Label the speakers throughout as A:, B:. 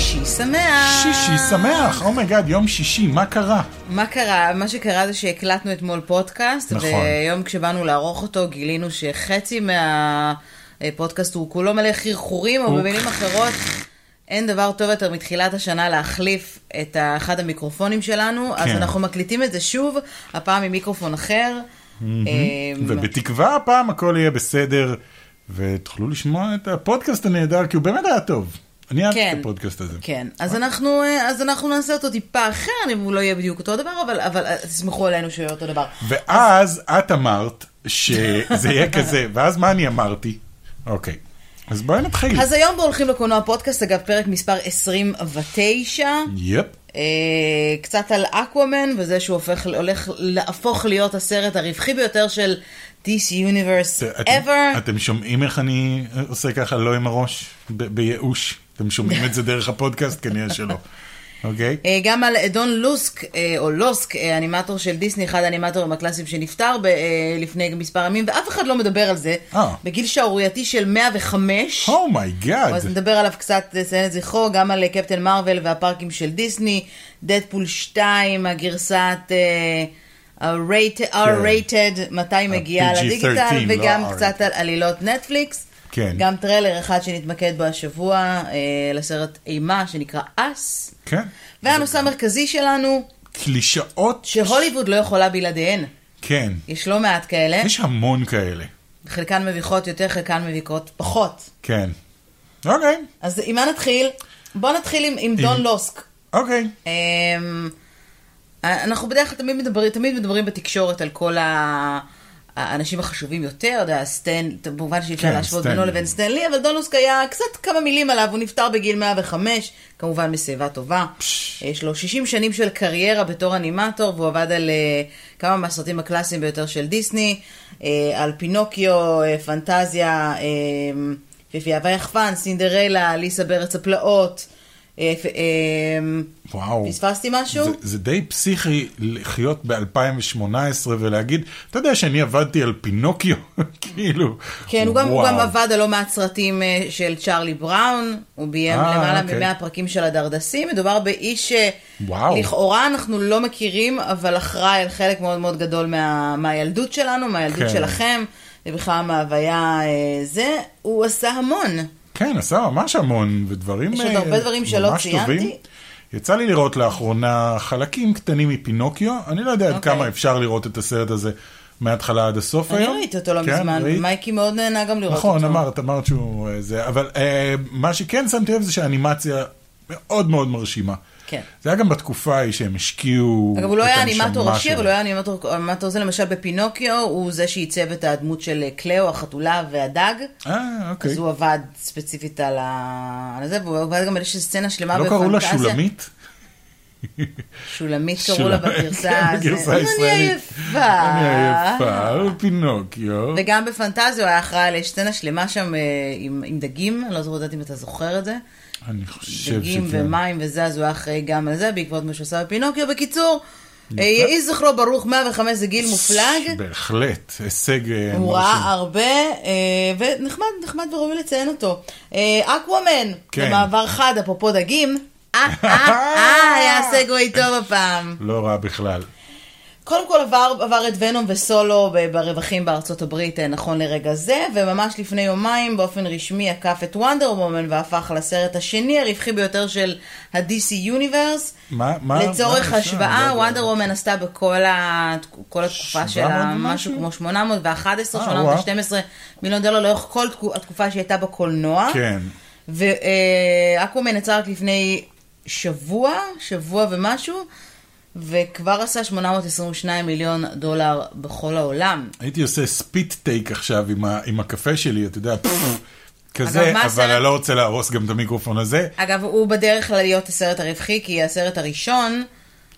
A: שמח!
B: שישי שמח, אומייגאד, יום שישי, מה קרה?
A: מה קרה? מה שקרה זה שהקלטנו אתמול פודקאסט,
B: נכון.
A: והיום כשבאנו לערוך אותו גילינו שחצי מהפודקאסט הוא כולו מלא חרחורים, או במילים אחרות, אין דבר טוב יותר מתחילת השנה להחליף את ה- אחד המיקרופונים שלנו, אז
B: כן.
A: אנחנו מקליטים את זה שוב, הפעם עם מיקרופון אחר. אמ,
B: ובתקווה הפעם הכל יהיה בסדר, ותוכלו לשמוע את הפודקאסט הנהדר, כי הוא באמת היה טוב. אני אהבתי
A: כן.
B: את הפודקאסט הזה.
A: כן, אז אנחנו, אה, אז אנחנו נעשה אותו טיפה אחר, אם הוא לא יהיה בדיוק אותו דבר, אבל, אבל אה, תסמכו עלינו שהוא יהיה אותו דבר.
B: ואז את אמרת שזה יהיה כזה, ואז מה אני אמרתי? אוקיי, אז בואי נתחיל.
A: אז היום בהולכים לקולנוע פודקאסט, אגב, פרק מספר 29,
B: יפ,
A: אה, קצת על אקוואמן, וזה שהוא הופך, הולך להפוך להיות הסרט הרווחי ביותר של DC Universe
B: אתם-
A: ever.
B: אתם שומעים איך אני עושה ככה לא עם הראש? ב- בייאוש. אתם שומעים את זה דרך הפודקאסט? כנראה שלא. אוקיי?
A: אה, גם על דון לוסק, אה, או לוסק, אה, אנימטור של דיסני, אחד האנימטורים הקלאסיים שנפטר ב- אה, לפני מספר ימים, ואף אחד לא מדבר על זה.
B: אה.
A: בגיל שערורייתי של 105.
B: אומייגאד.
A: אז נדבר עליו קצת, לציין את זכרו, גם על אה, קפטן מרוויל והפארקים של דיסני, דדפול 2, הגרסת אה,
B: כן.
A: ה-rated, R-rated, מתי מגיעה
B: PG-13,
A: לדיגיטל,
B: לא
A: וגם
B: R.
A: קצת על עלילות נטפליקס.
B: כן.
A: גם טריילר אחד שנתמקד בו השבוע, אה, לסרט אימה שנקרא אס.
B: כן.
A: והנושא המרכזי שלנו,
B: קלישאות,
A: שהוליווד לא יכולה בלעדיהן.
B: כן.
A: יש לא מעט כאלה,
B: יש המון כאלה.
A: חלקן מביכות יותר, חלקן מביכות פחות.
B: כן. אוקיי,
A: אז עם מה נתחיל? בוא נתחיל עם, עם דון לוסק.
B: אוקיי.
A: אמ, אנחנו בדרך כלל תמיד מדברים, תמיד מדברים בתקשורת על כל ה... האנשים החשובים יותר, אתה יודע, סטן, כמובן שאי אפשר
B: כן,
A: להשוות
B: סטן.
A: בינו לבין סטנלי, אבל דונלוסק היה קצת כמה מילים עליו, הוא נפטר בגיל 105, כמובן משיבה טובה.
B: פש.
A: יש לו 60 שנים של קריירה בתור אנימטור, והוא עבד על אה, כמה מהסרטים הקלאסיים ביותר של דיסני, אה, על פינוקיו, אה, פנטזיה, אה, יפייה ויחפן, סינדרלה, ליסה בארץ הפלאות. אה, פ- אה,
B: וואו.
A: פספסתי משהו?
B: זה, זה די פסיכי לחיות ב-2018 ולהגיד, אתה יודע שאני עבדתי על פינוקיו, כאילו.
A: כן, הוא גם, הוא
B: וואו.
A: גם עבד על לא מעט סרטים אה, של צ'ארלי בראון, הוא ביים
B: אה,
A: למעלה
B: אוקיי.
A: מ-100 פרקים של הדרדסים, מדובר באיש
B: וואו.
A: שלכאורה אנחנו לא מכירים, אבל אחראי על חלק מאוד מאוד גדול מה, מהילדות שלנו, מהילדות
B: כן.
A: שלכם, ובכלל מההוויה אה, זה, הוא עשה המון.
B: כן, עשה ממש המון, ודברים
A: יש עוד
B: אה,
A: הרבה דברים שלא
B: ממש
A: ציינתי.
B: טובים. יצא לי לראות לאחרונה חלקים קטנים מפינוקיו, אני לא יודע עד
A: אוקיי.
B: כמה אפשר לראות את הסרט הזה מההתחלה עד הסוף
A: אני
B: היום.
A: ראיתי אותו לא
B: כן,
A: מזמן,
B: ראית?
A: מייקי מאוד נהנה גם לראות
B: נכון,
A: אותו.
B: אמרת, אמרת שהוא אה, זה, אבל אה, מה שכן שמתי לב זה שהאנימציה מאוד מאוד מרשימה.
A: כן.
B: זה היה גם בתקופה ההיא שהם השקיעו...
A: אגב, הוא לא
B: את
A: היה
B: הנשמה
A: אנימטור עשיר,
B: שלהם.
A: הוא לא היה אנימטור, אנימטור זה למשל בפינוקיו, הוא זה שעיצב את הדמות של אה, קלאו, החתולה והדג.
B: אה, אוקיי.
A: אז הוא עבד ספציפית על ה... על זה, והוא עבד גם על איזושהי סצנה שלמה
B: לא קראו לה
A: בפנטזיה.
B: שולמית?
A: שולמית קראו לה
B: שולמית,
A: בגרסה.
B: כן,
A: זה-
B: בגרסה
A: אני
B: הישראלית.
A: עייפה.
B: אני עייפה, הוא פינוקיו.
A: וגם בפנטזיה הוא היה אחראי על סצנה שלמה שם אה, עם עם דגים, אני לא זוכרת אם אתה זוכר את זה.
B: אני חושב
A: דגים
B: שכן.
A: ומים וזה, אז הוא היה אחראי גם על זה, בעקבות מה שהוא עשה בפינוקיו. בקיצור, אה, יהי זכרו ברוך, 105 זה גיל מופלג.
B: בהחלט, הישג אה,
A: הוא
B: מרשים.
A: ראה הרבה, אה, ונחמד, נחמד וראוי לציין אותו. אה, אקוומן,
B: כן.
A: במעבר חד, אפרופו דגים. אה, אה, אה, היה סגווי טוב הפעם.
B: לא רע בכלל.
A: קודם כל עבר, עבר את ונום וסולו ב- ברווחים בארצות הברית אה, נכון לרגע זה, וממש לפני יומיים באופן רשמי עקף את וונדר וומן והפך לסרט השני הרווחי ביותר של ה-DC יוניברס.
B: מה, מה?
A: לצורך
B: מה עכשיו?
A: השוואה,
B: לא יודע.
A: וונדר וומן עשתה בכל ה- כל התקופה
B: 700
A: שלה משהו
B: ומשהו?
A: כמו 811,
B: אה,
A: 812 מיליון דולר לאורך כל תקו- התקופה שהיא הייתה בקולנוע.
B: כן.
A: ואקוומן יצא רק לפני שבוע, שבוע ומשהו, וכבר עשה 822 מיליון דולר בכל העולם.
B: הייתי עושה ספיט טייק עכשיו עם, ה, עם הקפה שלי, אתה יודע, פפפ,
A: אגב,
B: כזה,
A: מה
B: אבל
A: הסרט?
B: אני לא רוצה להרוס גם את המיקרופון הזה.
A: אגב, הוא בדרך כלל להיות הסרט הרווחי, כי הסרט הראשון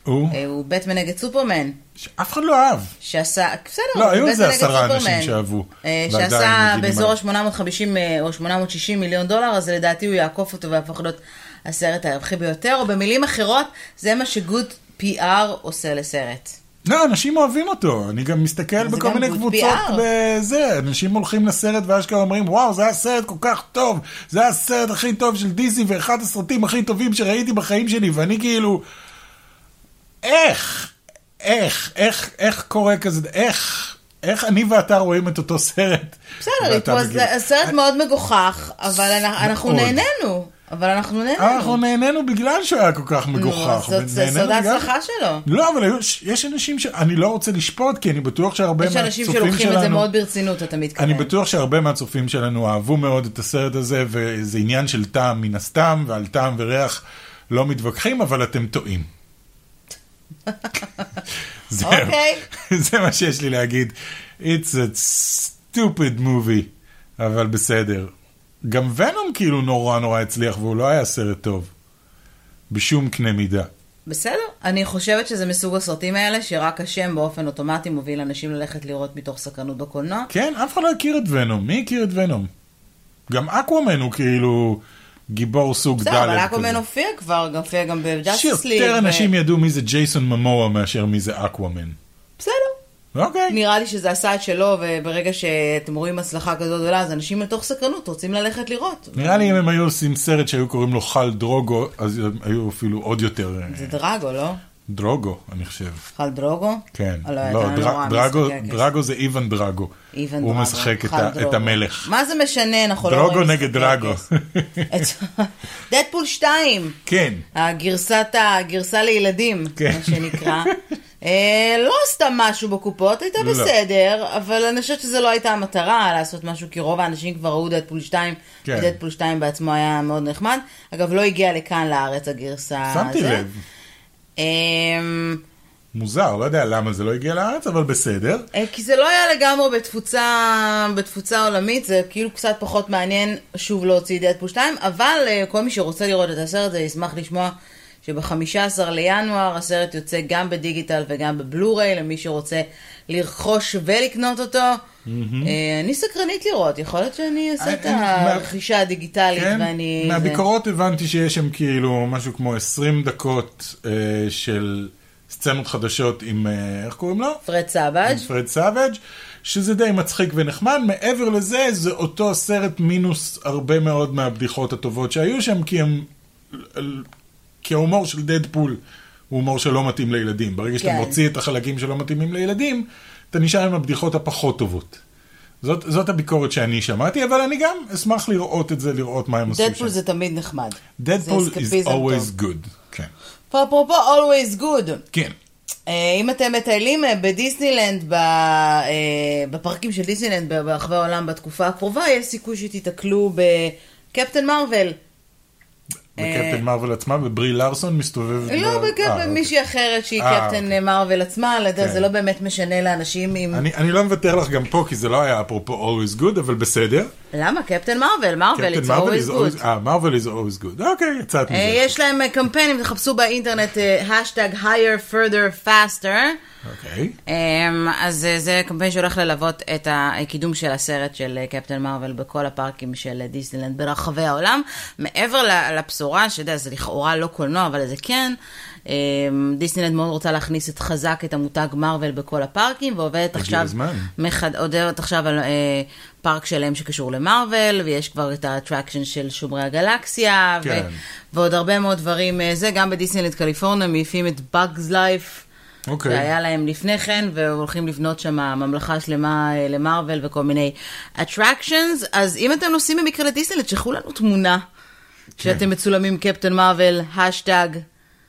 B: הוא,
A: אה, הוא בטמן נגד סופרמן,
B: שאף אחד לא אהב.
A: שעשה, בסדר,
B: לא,
A: הוא
B: היו
A: בטמן
B: איזה
A: נגד
B: עשרה
A: סופרמן.
B: אנשים שאהבו,
A: אה,
B: ועדיין
A: שעשה
B: מגיעים
A: באזור
B: עליו.
A: ה-850 אה, או 860 מיליון דולר, אז לדעתי הוא יעקוף אותו ויהפוך להיות הסרט הרווחי ביותר, או במילים אחרות, זה מה שגוד PR עושה לסרט.
B: לא, אנשים אוהבים אותו, אני גם מסתכל
A: זה
B: בכל
A: גם
B: מיני
A: good
B: קבוצות
A: PR.
B: בזה, אנשים הולכים לסרט ואשכרה אומרים, וואו, זה היה סרט כל כך טוב, זה היה הסרט הכי טוב של דיסני ואחד הסרטים הכי טובים שראיתי בחיים שלי, ואני כאילו, איך, איך, איך, איך קורה כזה, איך, איך אני ואתה רואים את אותו סרט?
A: בסדר, it
B: ואתה
A: was-
B: בגיל-
A: זה סרט מאוד מגוחך, אבל אנ- אנחנו
B: מאוד. אה,
A: נהנינו. אבל אנחנו נהנינו.
B: אנחנו נהנינו בגלל שהוא היה כל כך מגוחך.
A: נו, אז זאת- זה
B: ונהנינו
A: סוד
B: בגלל-
A: ההצלחה שלו.
B: לא, אבל היו- יש אנשים ש... אני לא רוצה לשפוט, כי אני בטוח שהרבה
A: יש
B: מהצופים
A: אנשים
B: שלנו...
A: שלוקחים את זה מאוד כן. ברצינות, אתה מתכוון.
B: אני בטוח שהרבה מהצופים שלנו אהבו מאוד את הסרט הזה, וזה עניין של טעם מן הסתם, ועל טעם וריח לא מתווכחים, אבל אתם טועים. זהו.
A: אוקיי.
B: זה מה שיש לי להגיד. It's a stupid movie, אבל בסדר. גם ונום כאילו נורא נורא הצליח, והוא לא היה סרט טוב. בשום קנה מידה.
A: בסדר. אני חושבת שזה מסוג הסרטים האלה, שרק השם באופן אוטומטי מוביל אנשים ללכת לראות מתוך סקרנות בקולנוע.
B: כן, אף אחד לא הכיר את ונום. מי הכיר את ונום? גם אקוואמן הוא כאילו גיבור סוג ד'
A: בסדר, אבל
B: כזה.
A: אקומן הופיע כבר, גם הופיע גם בג'אסטיס ליג.
B: שיותר אנשים ידעו מי זה ג'ייסון ממואה מאשר מי זה אקוואמן.
A: בסדר.
B: אוקיי.
A: נראה לי שזה עשה את שלו, וברגע שאתם רואים הצלחה כזאת גדולה, אז אנשים מתוך סקרנות רוצים ללכת לראות.
B: נראה לי אם הם היו עושים סרט שהיו קוראים לו חל דרוגו, אז הם היו אפילו עוד יותר אה,
A: זה דרגו, לא?
B: דרוגו, אני חושב.
A: חל דרוגו?
B: כן.
A: לא,
B: לא,
A: אתה
B: דר-
A: נורא
B: דרגו-
A: משחק,
B: דרגו זה איוון דרגו.
A: איוון
B: הוא
A: דרגו.
B: משחק את
A: חל
B: ה-
A: דרוגו.
B: את המלך.
A: מה זה משנה, אנחנו לא רואים...
B: דרוגו נגד
A: משחקי
B: דרגו.
A: כס. את- דדפול 2,
B: כן.
A: הגרסת, הגרסה לילדים,
B: כן.
A: מה שנקרא. אה, לא עשתה משהו בקופות, הייתה
B: לא.
A: בסדר, אבל אני חושבת שזו לא הייתה המטרה לעשות משהו, כי רוב האנשים כבר ראו דדפול 2,
B: כן.
A: ודדפול 2 בעצמו היה מאוד נחמד. אגב, לא הגיעה לכאן לארץ הגרסה
B: שמתי
A: זה.
B: לב.
A: אמ,
B: מוזר, לא יודע למה זה לא הגיע לארץ, אבל בסדר.
A: אה, כי זה לא היה לגמרי בתפוצה, בתפוצה עולמית, זה כאילו קצת פחות מעניין שוב להוציא דדפול 2, אבל אה, כל מי שרוצה לראות את הסרט הזה ישמח לשמוע שב-15 לינואר הסרט יוצא גם בדיגיטל וגם בבלו-ריי, למי שרוצה לרכוש ולקנות אותו. אה, אני סקרנית לראות, יכול להיות שאני אעשה
B: אה,
A: את
B: אה, מה-
A: הרכישה הדיגיטלית ואני... זה-
B: כן. מהביקורות הבנתי שיש שם כאילו משהו כמו 20 דקות אה, של סצנות חדשות עם, אה, איך קוראים לו?
A: פרד סבג'
B: עם פרד סאבג', שזה די מצחיק ונחמד. מעבר לזה, זה אותו סרט מינוס הרבה מאוד מהבדיחות הטובות שהיו שם, כי הם... כי ההומור של דדפול הוא הומור שלא מתאים לילדים. ברגע שאתה
A: כן.
B: מוציא את החלקים שלא מתאימים לילדים, אתה נשאר עם הבדיחות הפחות טובות. זאת, זאת הביקורת שאני שמעתי, אבל אני גם אשמח לראות את זה, לראות מה הם עשו שם.
A: דדפול זה תמיד נחמד. זה
B: דדפול is
A: אסקפיזם טוב.
B: always good. כן.
A: ואפרופו always good.
B: כן.
A: אה, אם אתם מטיילים אה, בדיסנילנד, ב- אה, בפארקים של דיסנילנד ב- ברחבי העולם בתקופה הקרובה, יש סיכוי שתיתקלו בקפטן מרוויל.
B: וקפטן מרוויל עצמה, וברי לארסון מסתובבת...
A: אה, לא,
B: ב- אה,
A: בקפטן, מישהי אחרת שהיא
B: אה,
A: קפטן אה, מרוויל עצמה, לא יודע,
B: כן.
A: זה לא באמת משנה לאנשים אם...
B: אני, אני לא מוותר לך גם פה, כי זה לא היה אפרופו always good, אבל בסדר.
A: למה? קפטן מרוויל, מרוויל, it's
B: Captain Marvel
A: always good.
B: is always- אה, מרוויל is always good. אוקיי, יצאת
A: אה,
B: מזה.
A: יש להם אה, קמפיינים, תחפשו באינטרנט, אה, השטג higher, further, faster.
B: אוקיי.
A: אמ, אז אה, זה קמפיין שהולך ללוות את הקידום של הסרט של אה, קפטן מרוויל בכל הפארקים של אה, דיסנילנד ברחבי העולם. מעבר ל- לבשורה, שאתה יודע, זה לכאורה לא קולנוע, אבל זה כן, אמ, דיסנילנד מאוד רוצה להכניס את חזק את המותג מרוויל בכל הפארקים, ועובדת
B: הגיע
A: עכשיו...
B: הזמן.
A: מחד... עודרת עכשיו על אה, פארק שלם שקשור למרוויל, ויש כבר את האטרקשן של שומרי הגלקסיה,
B: כן.
A: ו... ועוד הרבה מאוד דברים. אה, זה גם בדיסנילנד קליפורניה, מעיפים את Bugs Life.
B: אוקיי.
A: שהיה להם לפני כן, והולכים לבנות שם ממלכה שלמה אה, למרוויל וכל מיני attractions. אז אם אתם נוסעים במקרה לדיסנלד, שלחו לנו תמונה שאתם מצולמים קפטן מרוויל, השטג.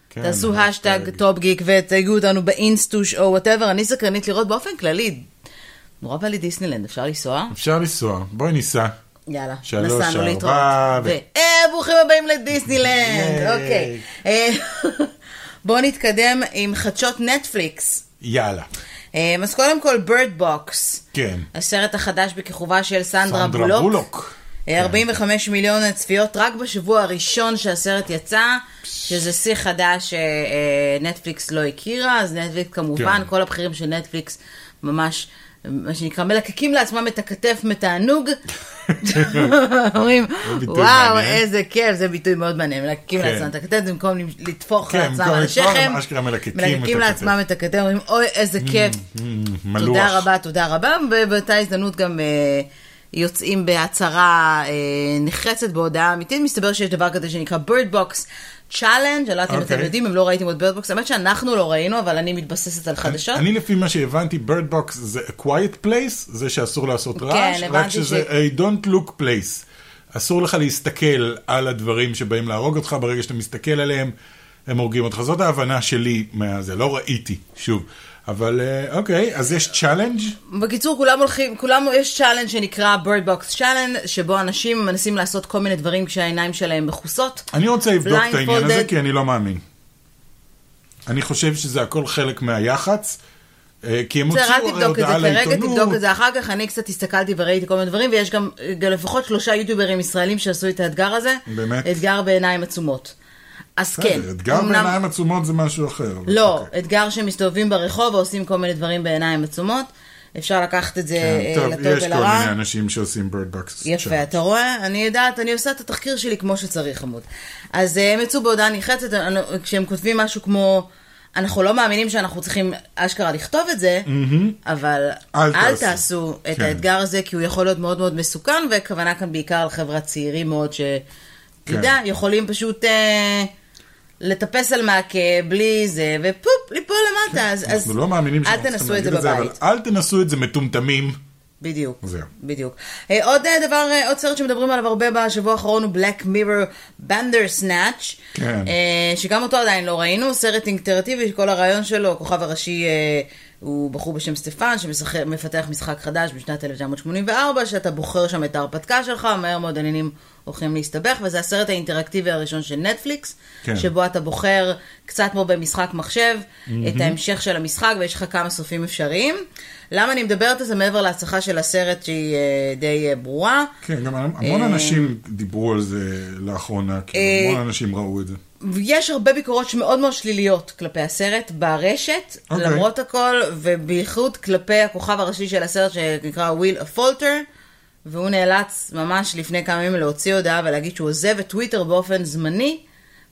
B: כן,
A: תעשו
B: האשטג.
A: השטג טופ גיק ותייגו אותנו באינסטוש או וואטאבר, אני סקרנית לראות באופן כללי. נורא בא לי דיסנילנד, אפשר לנסוע?
B: אפשר לנסוע, בואי ניסע.
A: יאללה,
B: שלוש,
A: נסענו
B: ארבע,
A: להתראות.
B: ו-
A: ו... אה, ברוכים הבאים לדיסנילנד,
B: ייי.
A: אוקיי. אה, בואו נתקדם עם חדשות נטפליקס.
B: יאללה.
A: אה, אז קודם כל, בירד בוקס.
B: כן.
A: הסרט החדש בכיכובה של סנדרה
B: סנדרה
A: בולוק.
B: בולוק. כן.
A: אה, 45 מיליון צפיות רק בשבוע הראשון שהסרט יצא, שזה שיא חדש שנטפליקס לא הכירה, אז נטפליקס כמובן,
B: כן.
A: כל הבכירים של נטפליקס ממש מה שנקרא, מלקקים לעצמם את הכתף מתענוג. אומרים,
B: ביטוי
A: וואו,
B: מעניין."
A: איזה כיף, זה ביטוי מאוד מעניין, מלקקים
B: כן.
A: לעצמם את הכתף במקום לטפוח
B: כן,
A: לעצמם
B: במקום
A: על
B: לטפוח,
A: השכם.
B: הם אשכרה מלקקים את
A: מלקקים
B: הכתף. Mm.
A: לעצמם את הכתף, אומרים, אוי, איזה כיף.
B: מלוח.
A: תודה רבה, תודה רבה, ובאותה הזדמנות גם אה, יוצאים בהצהרה אה, נחרצת בהודעה אמיתית. מסתבר שיש דבר כזה שנקרא בירד בוקס צ'אלנג, אני לא יודעת אם אתם
B: אוקיי.
A: יודעים, אם לא ראיתם עוד בירד בוקס, האמת שאנחנו לא ראינו, אבל אני מתבססת על חדשות.
B: אני לפי מה שהבנתי, בירד בוקס זה a quiet place, זה שאסור לעשות רעש, רק
A: כן, הבנתי
B: שזה
A: ש-
B: a don't look place. אסור לך להסתכל על הדברים שבאים להרוג אותך, ברגע שאתה מסתכל עליהם, הם הורגים אותך. זאת ההבנה שלי מה זה, לא ראיתי, שוב. אבל אה, אוקיי, אז יש צ'אלנג'?
A: בקיצור, כולם הולכים, כולם, יש צ'אלנג' שנקרא בירד בוקס צ'אלנג', שבו אנשים מנסים לעשות כל מיני דברים כשהעיניים שלהם מכוסות.
B: אני רוצה לבדוק את העניין הזה,
A: Blindfolded.
B: כי אני לא מאמין. אני חושב שזה הכל חלק מהיח"צ, אה, כי הם
A: בסדר,
B: הוציאו
A: אל
B: הרי
A: תבדוק את זה
B: הודעה
A: כרגע, תבדוק את
B: לעיתונות.
A: זה אחר כך. אני קצת הסתכלתי וראיתי כל מיני דברים, ויש גם גם לפחות שלושה יוטיוברים ישראלים שעשו את האתגר הזה.
B: באמת?
A: אתגר בעיניים עצומות. אז כן.
B: בסדר, אתגר
A: אמנם-
B: בעיניים עצומות זה משהו אחר. אבל
A: לא,
B: אוקיי.
A: אתגר שמסתובבים ברחוב ועושים כל מיני דברים בעיניים עצומות. אפשר לקחת את זה אה,
B: כן, טוב,
A: לטוב
B: יש כל
A: ולרע.
B: מיני אנשים שעושים בירד בוקס.
A: יפה, אתה רואה? אני יודעת, אני עושה את התחקיר שלי כמו שצריך, עמוד. אז אה, הם יצאו בהודעה נחרצת, אה, אה, כשהם כותבים משהו כמו, אנחנו לא מאמינים שאנחנו צריכים אשכרה לכתוב את זה, אבל
B: אל
A: אל
B: תעשו.
A: תעשו את
B: כן.
A: האתגר הזה, כי הוא יכול להיות מאוד מאוד מסוכן, והכוונה כאן בעיקר לחברת צעירים מאוד, ש... אתה יודע,
B: כן.
A: יכולים פשוט... אה, לטפס על מעקה בלי זה, ופופ, ליפול למטה. אז, אז
B: אנחנו לא מאמינים
A: אל
B: שאנחנו צריכים
A: תנסו את
B: להגיד
A: זה
B: את זה, אבל
A: בבית.
B: אל תנסו את זה מטומטמים.
A: בדיוק.
B: זהו.
A: בדיוק. אה, עוד אה, דבר, אה, עוד סרט שמדברים עליו הרבה בשבוע האחרון הוא Black Mirror Bandersnatch.
B: כן.
A: אה, שגם אותו עדיין לא ראינו, סרט אינטרטיבי שכל הרעיון שלו, הכוכב הראשי אה, הוא בחור בשם סטפן שמפתח משחק חדש בשנת 1984, שאתה בוחר שם את ההרפתקה שלך, מהר מאוד עניינים הולכים להסתבך, וזה הסרט האינטראקטיבי הראשון של נטפליקס,
B: כן.
A: שבו אתה בוחר, קצת כמו במשחק מחשב, את ההמשך של המשחק, ויש לך כמה סופים אפשריים. למה אני מדברת על זה מעבר להצלחה של הסרט שהיא אה, די אה, ברורה?
B: כן, גם המון
A: אה,
B: אנשים דיברו על זה לאחרונה, כאילו,
A: אה,
B: המון אנשים ראו את זה.
A: יש הרבה ביקורות שמאוד מאוד שליליות כלפי הסרט ברשת, okay.
B: אוקיי.
A: למרות הכל, ובייחוד כלפי הכוכב הראשי של הסרט שנקרא וויל פולטר, והוא נאלץ ממש לפני כמה ימים להוציא הודעה ולהגיד שהוא עוזב את טוויטר באופן זמני,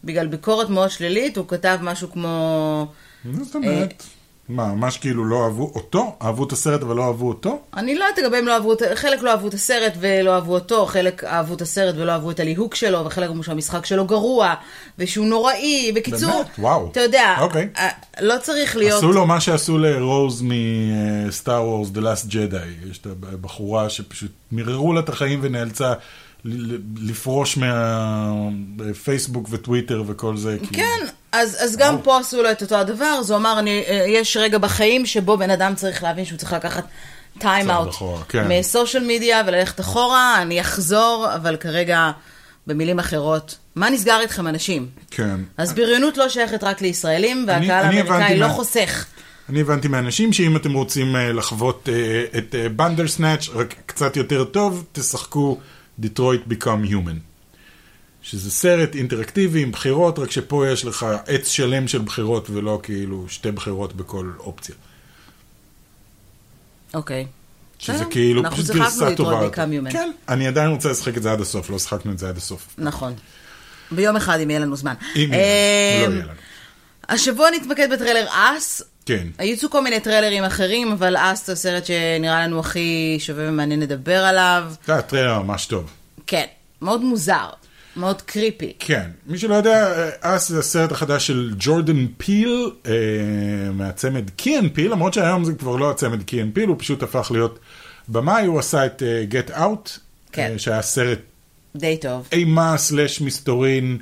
A: בגלל ביקורת מאוד שלילית, הוא כתב משהו כמו...
B: מה זאת אומרת?
A: אה,
B: מה, ממש כאילו לא אהבו אותו? אהבו את הסרט אבל לא אהבו אותו?
A: אני לא יודעת לגבי אם לא אהבו, את- חלק לא אהבו את הסרט ולא אהבו אותו, חלק אהבו את הסרט ולא אהבו את הליהוק שלו, וחלק אמרו שהמשחק שלו גרוע, ושהוא נוראי, בקיצור,
B: באמת? וואו.
A: אתה יודע,
B: אוקיי.
A: אה, לא צריך להיות...
B: עשו לו מה שעשו לרוז מסטאר וורס, The Last Jedi. יש את הבחורה שפשוט מיררו לה את החיים ונאלצה ל- ל- לפרוש מהפייסבוק וטוויטר וכל זה. כאילו. כי-
A: כן, אז, אז גם פה עשו לו את אותו הדבר, אז הוא אמר, אני, אה, יש רגע בחיים שבו בן אדם צריך להבין שהוא צריך לקחת טיים
B: צעד
A: אאוט
B: אחורה, כן.
A: מסושיאל מדיה וללכת אחורה, אני אחזור, אבל כרגע, במילים אחרות, מה נסגר איתכם אנשים?
B: כן.
A: אז בריונות לא שייכת רק לישראלים, והקהל
B: אני הבנתי
A: האמריקאי לא
B: מה-
A: חוסך.
B: אני הבנתי מאנשים שאם אתם רוצים אה, לחוות אה, את בנדר סנאץ' רק קצת יותר טוב, תשחקו Detroit Become Human. שזה סרט אינטראקטיבי עם בחירות, רק שפה יש לך עץ שלם של בחירות ולא כאילו שתי בחירות בכל אופציה.
A: כן, אוקיי.
B: שזה
A: בסדר,
B: כאילו
A: אנחנו
B: פשוט
A: שיחקנו
B: גרסה
A: Detroit
B: טובה.
A: Become
B: יותר.
A: Human.
B: כן, אני עדיין רוצה לשחק את זה עד הסוף, לא שחקנו את זה עד הסוף.
A: נכון. ביום אחד, אם יהיה לנו זמן.
B: אם יהיה לנו,
A: אמ,
B: לא יהיה לנו.
A: השבוע נתמקד בטריילר אס.
B: כן.
A: היצאו כל מיני טריילרים אחרים, אבל אס זה הסרט שנראה לנו הכי שווה ומעניין לדבר עליו.
B: זה היה אה, טריילר ממש טוב.
A: כן, מאוד מוזר, מאוד קריפי.
B: כן, מי שלא יודע, אס זה הסרט החדש של ג'ורדן פיל, אה, מהצמד קיאן פיל, למרות שהיום זה כבר לא הצמד קיאן פיל, הוא פשוט הפך להיות במאי, הוא עשה את אה, Get Out,
A: כן.
B: אה, שהיה סרט
A: די טוב.
B: אימה סלאש מסתורין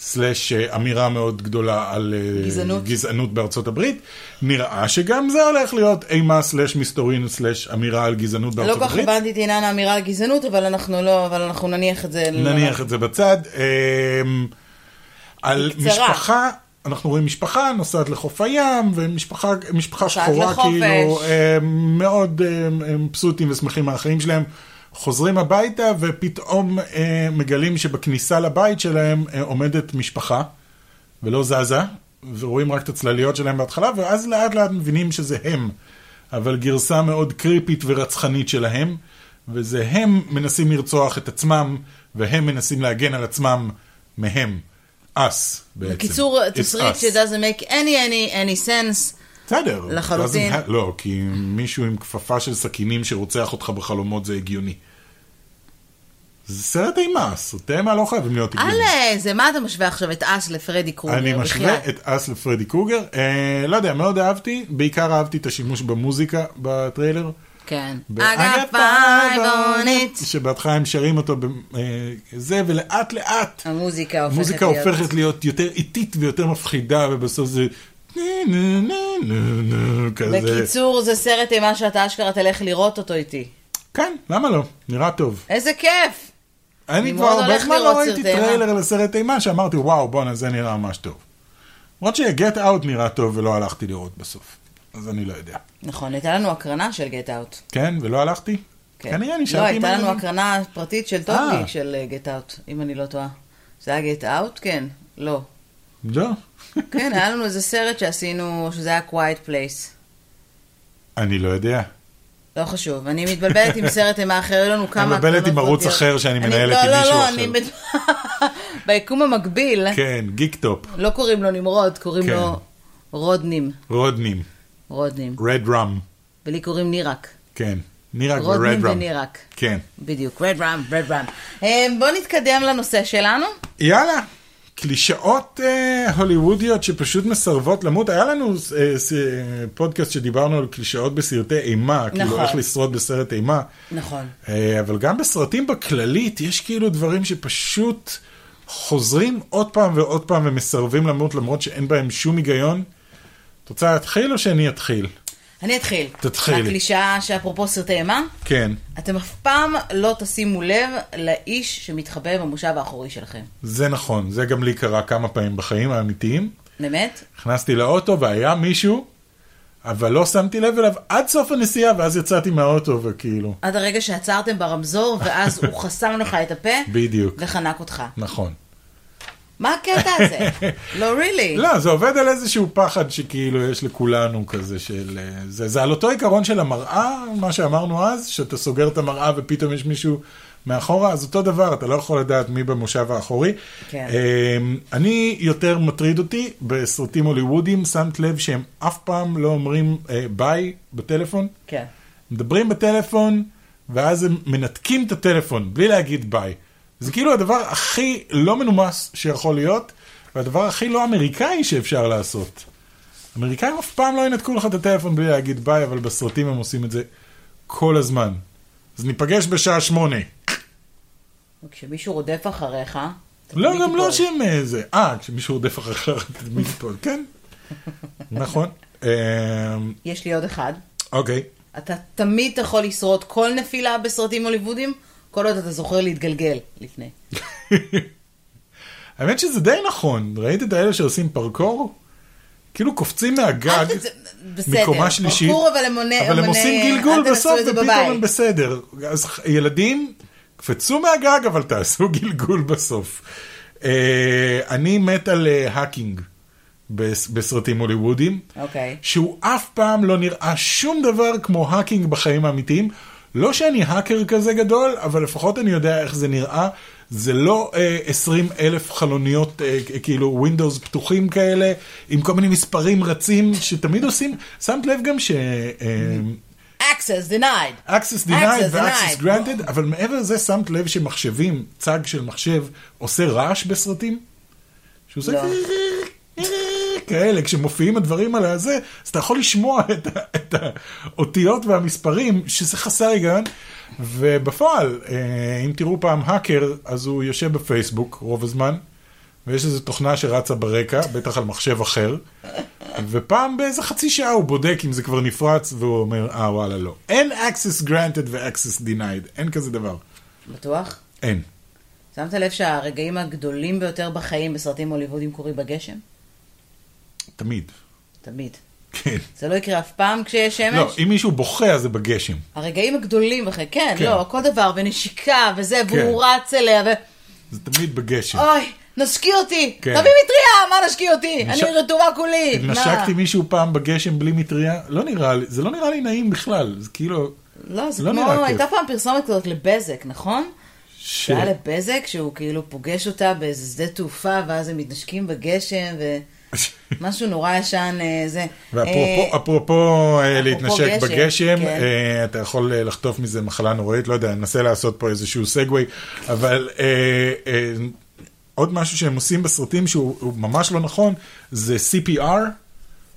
B: סלאש אה, אמירה מאוד גדולה על אה,
A: גזענות.
B: גזענות בארצות הברית. נראה שגם זה הולך להיות אימה סלאש מסתורין סלאש אמירה על גזענות
A: לא
B: בארצות
A: כל כך
B: הברית.
A: הבנתי את עניין האמירה על גזענות, אבל אנחנו לא, אבל אנחנו נניח את זה.
B: נניח את זה בצד. אמ, על
A: בקצרה.
B: משפחה, אנחנו רואים משפחה נוסעת לחוף הים, ומשפחה משפחה
A: נוסעת
B: שחורה
A: לחופש.
B: כאילו אמ, מאוד אמ, אמ, מבסוטים ושמחים מהחיים שלהם. חוזרים הביתה ופתאום אה, מגלים שבכניסה לבית שלהם אה, עומדת משפחה ולא זזה, ורואים רק את הצלליות שלהם בהתחלה, ואז לאט לאט מבינים שזה הם. אבל גרסה מאוד קריפית ורצחנית שלהם, וזה הם מנסים לרצוח את עצמם, והם מנסים להגן על עצמם מהם. us, בעצם.
A: בקיצור,
B: It's
A: תסריט
B: us. Mm-hmm.
A: ש- doesn't make any any any sense.
B: בסדר.
A: לחלוטין.
B: ואז הם- לא, כי מישהו עם כפפה של סכינים שרוצח אותך בחלומות זה הגיוני. זה סרט אימה, סרטי אימה לא חייבים להיות הגיוני.
A: על אה, זה, מה אתה משווה עכשיו את אס לפרדי קרוגר?
B: אני
A: בחייאת.
B: משווה את אס לפרדי קרוגר. אה, לא יודע, מאוד אהבתי, בעיקר אהבתי את השימוש במוזיקה בטריילר.
A: כן. I
B: ב-
A: got
B: I got
A: five on
B: five on
A: it.
B: it. שבהתחלה הם שרים אותו בזה, ולאט לאט
A: המוזיקה הופכת
B: המוזיקה
A: להיות-
B: הופכת להיות יותר איטית ויותר מפחידה, ובסוף זה... נה, נה, נה, נה, נה, כזה.
A: בקיצור, זה סרט אימה שאתה אשכרה תלך לראות אותו איתי.
B: כן, למה לא? נראה טוב.
A: איזה כיף! אני
B: אני כבר
A: מאוד
B: הרבה
A: הולך
B: זמן
A: לראות אה?
B: לא ראיתי
A: סרטי אימה.
B: טריילר לסרט אימה שאמרתי, וואו, בואנה, זה נראה ממש טוב. למרות ש-Get Out נראה טוב ולא הלכתי לראות בסוף. אז אני לא יודע.
A: נכון, הייתה לנו הקרנה של גט אאוט.
B: כן? ולא הלכתי?
A: כן.
B: כנראה
A: לא,
B: נשארתי עם
A: הייתה לנו
B: הילדים.
A: הקרנה פרטית של טופי
B: אה.
A: של גט אאוט, אם אני לא טועה. זה היה גט אאוט? כן. לא.
B: לא.
A: כן, היה לנו איזה סרט שעשינו, שזה היה Quiet Place.
B: אני לא יודע.
A: לא חשוב, אני מתבלבלת עם סרט אימה אחר, היו לנו כמה...
B: מתבלבלת
A: הקרנות
B: עם ערוץ
A: פרטיות.
B: אחר שאני
A: אני-
B: מנהלת עם
A: לא,
B: מישהו
A: לא, לא,
B: אחר.
A: אני... מת- ביקום המקביל,
B: כן, גיק טופ,
A: לא קוראים לו נמרוד, קוראים
B: כן.
A: לו רודנים.
B: רודנים,
A: רודנים.
B: רד רם,
A: ולי קוראים נירק.
B: כן. נירק
A: רודנים
B: ורד רם.
A: ונירק.
B: כן.
A: בדיוק, רד רם, רד רם. אה, בואו נתקדם לנושא שלנו.
B: יאללה. קלישאות אה, הוליוודיות שפשוט מסרבות למות. היה לנו אה, ס- אה, פודקאסט שדיברנו על קלישאות בסרטי אימה,
A: נכון.
B: כאילו איך לשרוד בסרט אימה.
A: נכון.
B: אה, אבל גם בסרטים בכללית יש כאילו דברים שפשוט חוזרים עוד פעם ועוד פעם ומסרבים למות למרות שאין בהם שום היגיון. את רוצה להתחיל או שאני אתחיל?
A: אני אתחיל.
B: תתחילי.
A: הקלישאה שאפרופו סרטי אימה,
B: כן.
A: אתם אף פעם לא תשימו לב לאיש שמתחבא במושב האחורי שלכם.
B: זה נכון, זה גם לי קרה כמה פעמים בחיים האמיתיים.
A: באמת?
B: נכנסתי לאוטו והיה מישהו, אבל לא שמתי לב אליו עד סוף הנסיעה, ואז יצאתי מהאוטו וכאילו,
A: עד הרגע שעצרתם ברמזור, ואז הוא חסם לך את הפה,
B: בדיוק.
A: וחנק אותך.
B: נכון.
A: מה הקטע הזה? לא, really.
B: לא, זה עובד על איזשהו פחד שכאילו יש לכולנו כזה של... אה, זה, זה על אותו עיקרון של המראה, מה שאמרנו אז, שאתה סוגר את המראה ופתאום יש מישהו מאחורה, אז אותו דבר, אתה לא יכול לדעת מי במושב האחורי.
A: כן.
B: אמ, אני יותר מטריד אותי בסרטים הוליוודיים, שמת לב שהם אף פעם לא אומרים אה, ביי בטלפון.
A: כן.
B: מדברים בטלפון, ואז הם מנתקים את הטלפון, בלי להגיד ביי. זה כאילו הדבר הכי לא מנומס שיכול להיות, והדבר הכי לא אמריקאי שאפשר לעשות. אמריקאים אף פעם לא ינתקו לך את הטלפון בלי להגיד ביי, אבל בסרטים הם עושים את זה כל הזמן. אז ניפגש בשעה שמונה.
A: כשמישהו רודף אחריך... אתה
B: לא,
A: תמיד
B: גם לא
A: תיפול.
B: שהם אה, זה. אה, כשמישהו רודף אחריך, תמיד תיפול. כן, נכון. אה,
A: יש לי עוד אחד.
B: אוקיי.
A: אתה תמיד יכול לשרוד כל נפילה בסרטים הוליוודיים, כל עוד אתה זוכר להתגלגל לפני.
B: האמת שזה די נכון, ראית את האלה שעושים פרקור? כאילו קופצים מהגג,
A: אל תצ- בסדר,
B: מקומה שלישית,
A: פרקור, אבל הם מונה-
B: אבל הם
A: מונה-
B: עושים
A: אל
B: גלגול
A: תנסו
B: בסוף
A: את זה
B: ופתאום
A: בבית.
B: הם בסדר. אז ח- ילדים, קפצו מהגג אבל תעשו גלגול בסוף. אה, אני מת על אה, האקינג בס- בסרטים הוליוודיים,
A: אוקיי.
B: שהוא אף פעם לא נראה שום דבר כמו האקינג בחיים האמיתיים. לא שאני האקר כזה גדול, אבל לפחות אני יודע איך זה נראה. זה לא אה, 20 אלף חלוניות, אה, כ- כאילו Windows פתוחים כאלה, עם כל מיני מספרים רצים, שתמיד עושים. שמת לב גם ש... אה,
A: access denied.
B: access denied
A: Access
B: ו-access
A: denied.
B: granted, אבל מעבר לזה שמת לב שמחשבים, צג של מחשב, עושה רעש בסרטים? שהוא עושה
A: לא.
B: כאלה, כשמופיעים הדברים על הזה, אז אתה יכול לשמוע את, ה- את האותיות והמספרים, שזה חסר היגיון. ובפועל, אה, אם תראו פעם האקר, אז הוא יושב בפייסבוק רוב הזמן, ויש איזו תוכנה שרצה ברקע, בטח על מחשב אחר, ופעם באיזה חצי שעה הוא בודק אם זה כבר נפרץ, והוא אומר, אה וואלה לא. אין access granted ו-access denied, אין כזה דבר.
A: בטוח?
B: אין.
A: שמת לב שהרגעים הגדולים ביותר בחיים בסרטים הוליוודים קורים בגשם?
B: תמיד.
A: תמיד.
B: כן.
A: זה לא יקרה אף פעם כשיש שמש?
B: לא, אם מישהו בוכה אז זה בגשם.
A: הרגעים הגדולים אחרי, כן,
B: כן.
A: לא, כל דבר, ונשיקה, וזה,
B: כן.
A: והוא רץ אליה, ו...
B: זה תמיד בגשם.
A: אוי, נשקי אותי,
B: כן.
A: תביא מטריה, מה נשקי אותי?
B: נש-
A: אני רטובה כולי. מה?
B: נשקתי מישהו פעם בגשם בלי מטריה, לא נראה לי, זה לא נראה לי נעים בכלל, זה כאילו...
A: לא, זה
B: לא
A: כמו,
B: נראה כיף. כן.
A: הייתה פעם פרסומת כזאת לבזק, נכון?
B: ש...
A: שהיה לבזק שהוא כאילו פוגש אותה באיזה שדה תעופה, ואז הם מתנשקים בגשם, ומשהו נורא ישן אה, זה.
B: ואפרופו
A: אה,
B: אפרופו, אה, להתנשק
A: גשם,
B: בגשם,
A: כן.
B: אה, אתה יכול אה, לחטוף מזה מחלה נוראית, לא יודע, אני מנסה לעשות פה איזשהו סגווי, אבל אה, אה, עוד משהו שהם עושים בסרטים שהוא הוא ממש לא נכון, זה CPR,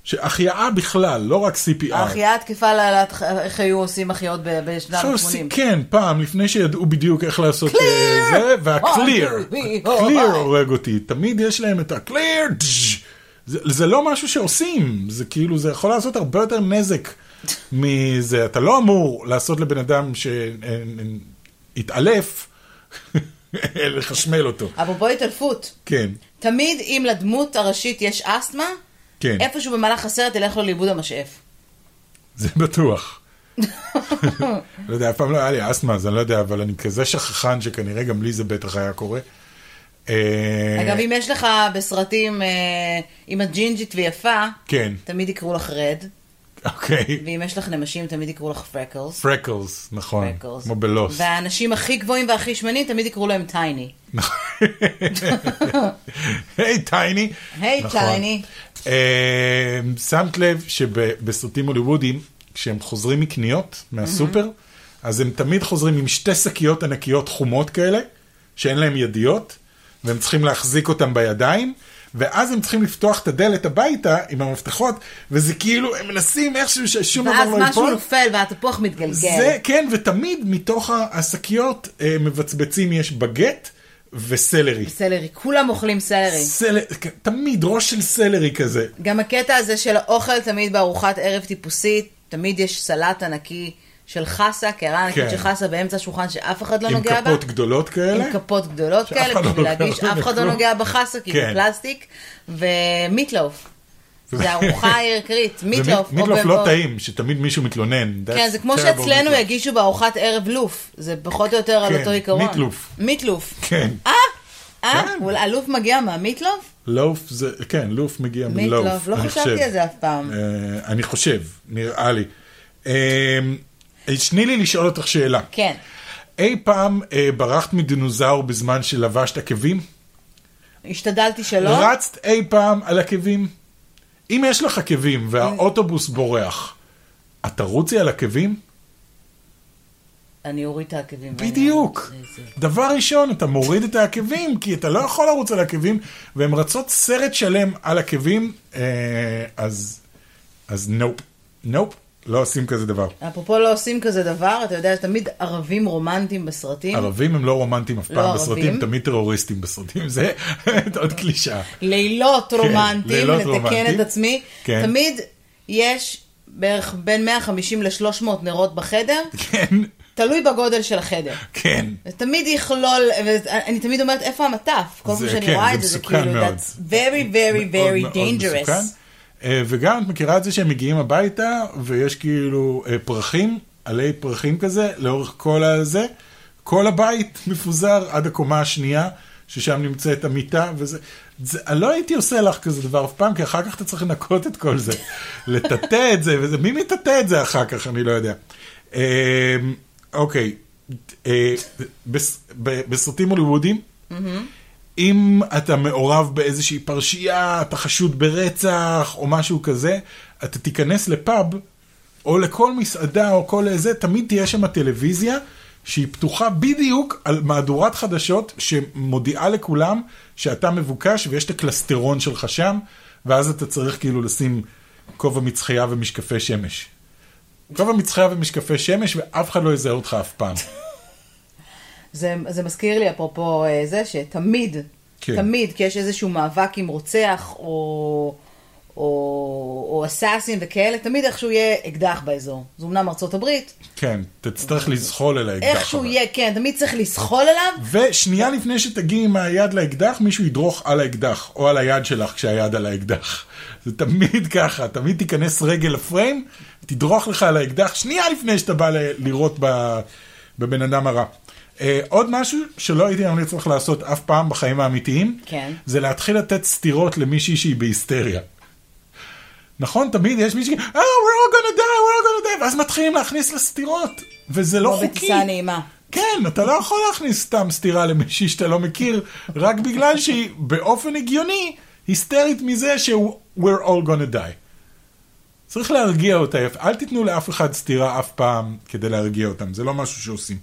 B: שהחייאה בכלל, לא רק CPR.
A: ההחייאה התקפה להעלאת, ח- איך היו עושים החייאות ב- בשנות
B: עכשיו, עושים-
A: ה-80.
B: כן, פעם, לפני שידעו בדיוק איך לעשות אה,
A: Clear!
B: זה,
A: One,
B: וה-clear,
A: two, three,
B: clear
A: four,
B: הורג אותי, תמיד יש להם את ה-clear, זה, זה לא משהו שעושים, זה כאילו, זה יכול לעשות הרבה יותר נזק מזה, אתה לא אמור לעשות לבן אדם אה, שהתעלף, לחשמל אותו,
A: אפרופו התעלפות,
B: כן,
A: תמיד אם לדמות הראשית יש אסתמה,
B: כן,
A: איפשהו במהלך הסרט ילך לו לאיבוד המשאף.
B: זה בטוח. לא יודע, אף פעם לא היה לי אסתמה, אז אני לא יודע, אבל אני כזה שכחן שכנראה גם לי זה בטח היה קורה. אה,
A: אגב, אם יש לך בסרטים, אה, אם את ג'ינג'ית ויפה,
B: כן,
A: תמיד יקראו לך רד,
B: אוקיי.
A: ואם יש לך נמשים, תמיד יקראו לך פרקלס.
B: פרקלס, נכון.
A: פרקלס.
B: כמו בלוס.
A: והאנשים הכי גבוהים והכי שמנים, תמיד יקראו להם טייני.
B: היי טייני.
A: היי
B: נכון.
A: טייני.
B: אה, שמת לב שבסרטים הוליוודיים, כשהם חוזרים מקניות מהסופר,
A: Mm-hmm.
B: אז הם תמיד חוזרים עם שתי שקיות ענקיות חומות כאלה, שאין להם ידיות, והם צריכים להחזיק אותם בידיים. ואז הם צריכים לפתוח את הדלת הביתה עם המפתחות, וזה כאילו, הם מנסים איכשהו ששום דבר
A: ואז
B: לא ייפול.
A: משהו נופל והתפוח
B: זה,
A: מתגלגל.
B: כן, ותמיד מתוך ה- השקיות אה, מבצבצים יש בגט וסלרי.
A: סלרי, כולם אוכלים סלרי.
B: סלרי, תמיד ראש של סלרי כזה.
A: גם הקטע הזה של האוכל תמיד בארוחת ערב טיפוסית, תמיד יש סלט ענקי של חסה, קערה ענקית
B: כן.
A: של חסה באמצע השולחן שאף אחד לא
B: עם
A: נוגע בה.
B: כפות גדולות כאלה.
A: עם כפות גדולות
B: שאף אחד
A: כאלה,
B: לא
A: בשביל
B: נוגע
A: להגיש, אף אחד לא
B: בכלום.
A: נוגע בחסה, כי זה
B: כן.
A: פלסטיק, ומיטלוף. זה ארוחה עיקרית,
B: ומי-
A: מיטלוף. או
B: מיטלוף לא
A: במקום-
B: טעים, שתמיד מישהו מתלונן.
A: כן,
B: That's
A: זה כמו
B: terrible
A: שאצלנו
B: meatloaf.
A: יגישו בארוחת ערב לוף, זה פחות או יותר על
B: כן,
A: אותו עיקרון.
B: מיטלוף.
A: מיטלוף.
B: כן,
A: אה? אה?
B: כן.
A: אבל הלוף מגיע מהמיטלוף?
B: לוף זה, כן, לוף מגיע מלוף.
A: מיטלוף, לא
B: אני חושב.
A: חשבתי על זה אף פעם.
B: אה, אני חושב, נראה לי. אה, שני לי לשאול אותך שאלה.
A: כן.
B: אי פעם אה, ברחת מדינוזאור בזמן שלבשת עקבים?
A: השתדלתי שלא.
B: רצת אי פעם על עקבים? אם יש לך עקבים והאוטובוס
A: אה.
B: בורח, את תרוצי על עקבים?
A: אני אוריד את העקבים. ואני-
B: בדיוק.
A: זה- זה-
B: דבר ראשון, אתה מוריד את העקבים, כי אתה לא יכול לרוץ על עקבים, והן רצות סרט שלם על עקבים, אה, אז אז נופ. נופ. לא עושים כזה דבר.
A: אפרופו לא עושים כזה דבר, אתה יודע, תמיד ערבים רומנטיים בסרטים.
B: ערבים הם לא רומנטים אף
A: לא
B: פעם
A: ערבים.
B: בסרטים, תמיד טרוריסטים בסרטים, זה עוד קלישאה.
A: לילות רומנטיים,
B: כן, לילות
A: לתקן
B: רומנטיים.
A: את עצמי.
B: כן.
A: תמיד יש בערך בין 150 ל-300 נרות בחדר,
B: כן,
A: תלוי בגודל של החדר.
B: כן.
A: זה תמיד יכלול, ואני תמיד אומרת איפה המטף, כל פעם
B: זה-
A: שאני
B: כן,
A: רואה
B: זה
A: את זה, זה
B: מסוכן
A: כאילו,
B: מאוד.
A: that's very very
B: מאוד
A: very
B: מאוד
A: dangerous.
B: מסוכן. אה, וגם את מכירה את זה שהם מגיעים הביתה ויש כאילו אה, פרחים, עלי פרחים כזה, לאורך כל הזה, כל הבית מפוזר עד הקומה השנייה, ששם נמצאת המיטה וזה. זה, אני לא הייתי עושה לך כזה דבר אף פעם, כי אחר כך אתה צריך לנקות את כל זה, לטאטא את זה, וזה, מי מטאטא את זה אחר כך, אני לא יודע. אה, אוקיי, אה, בס- ב- בסרטים הוליוודיים, אם אתה מעורב באיזושהי פרשייה, אתה חשוד ברצח או משהו כזה, אתה תיכנס לפאב או לכל מסעדה או כל איזה, תמיד תהיה שם טלוויזיה שהיא פתוחה בדיוק על מהדורת חדשות שמודיעה לכולם שאתה מבוקש ויש את הקלסטרון שלך שם, ואז אתה צריך כאילו לשים כובע מצחייה ומשקפי שמש. כובע מצחייה ומשקפי שמש ואף אחד לא יזהה אותך אף פעם.
A: זה, זה מזכיר לי, אפרופו אה, זה, שתמיד,
B: כן.
A: כן. תמיד, כי יש איזשהו מאבק עם רוצח או, או, או אסאסין וכאלה, תמיד איכשהו יהיה אקדח באזור. זה אמנם ארצות הברית,
B: כן, תצטרך לזחול אל האקדח.
A: איכשהו
B: אבל.
A: יהיה, כן, תמיד צריך לסחול עליו.
B: ושנייה לפני שתגיעי עם היד לאקדח, מישהו ידרוך על האקדח, או על היד שלך כשהיד על האקדח. זה תמיד ככה, תמיד תיכנס רגל לפריים, תדרוך לך על האקדח שנייה לפני שאתה בא ל- לירות ב... בבן אדם הרע. Uh, אה, עוד משהו שלא הייתי ממליץ לך לעשות אף פעם בחיים האמיתיים,
A: כן.
B: זה להתחיל לתת סטירות למישהי שהיא בהיסטריה. נכון, תמיד יש מישהי, אה, oh, we're all gonna die, we're all gonna die, ואז מתחילים להכניס לה סטירות, וזה לא
A: כמו
B: חוקי.
A: בטיסה נעימה.
B: כן, אתה לא יכול להכניס סתם סטירה למישהי שאתה לא מכיר, רק בגלל שהיא באופן הגיוני היסטרית מזה שהוא we're all gonna die. צריך להרגיע אותה, אל תיתנו לאף אחד סטירה אף פעם כדי להרגיע אותם, זה לא משהו שעושים.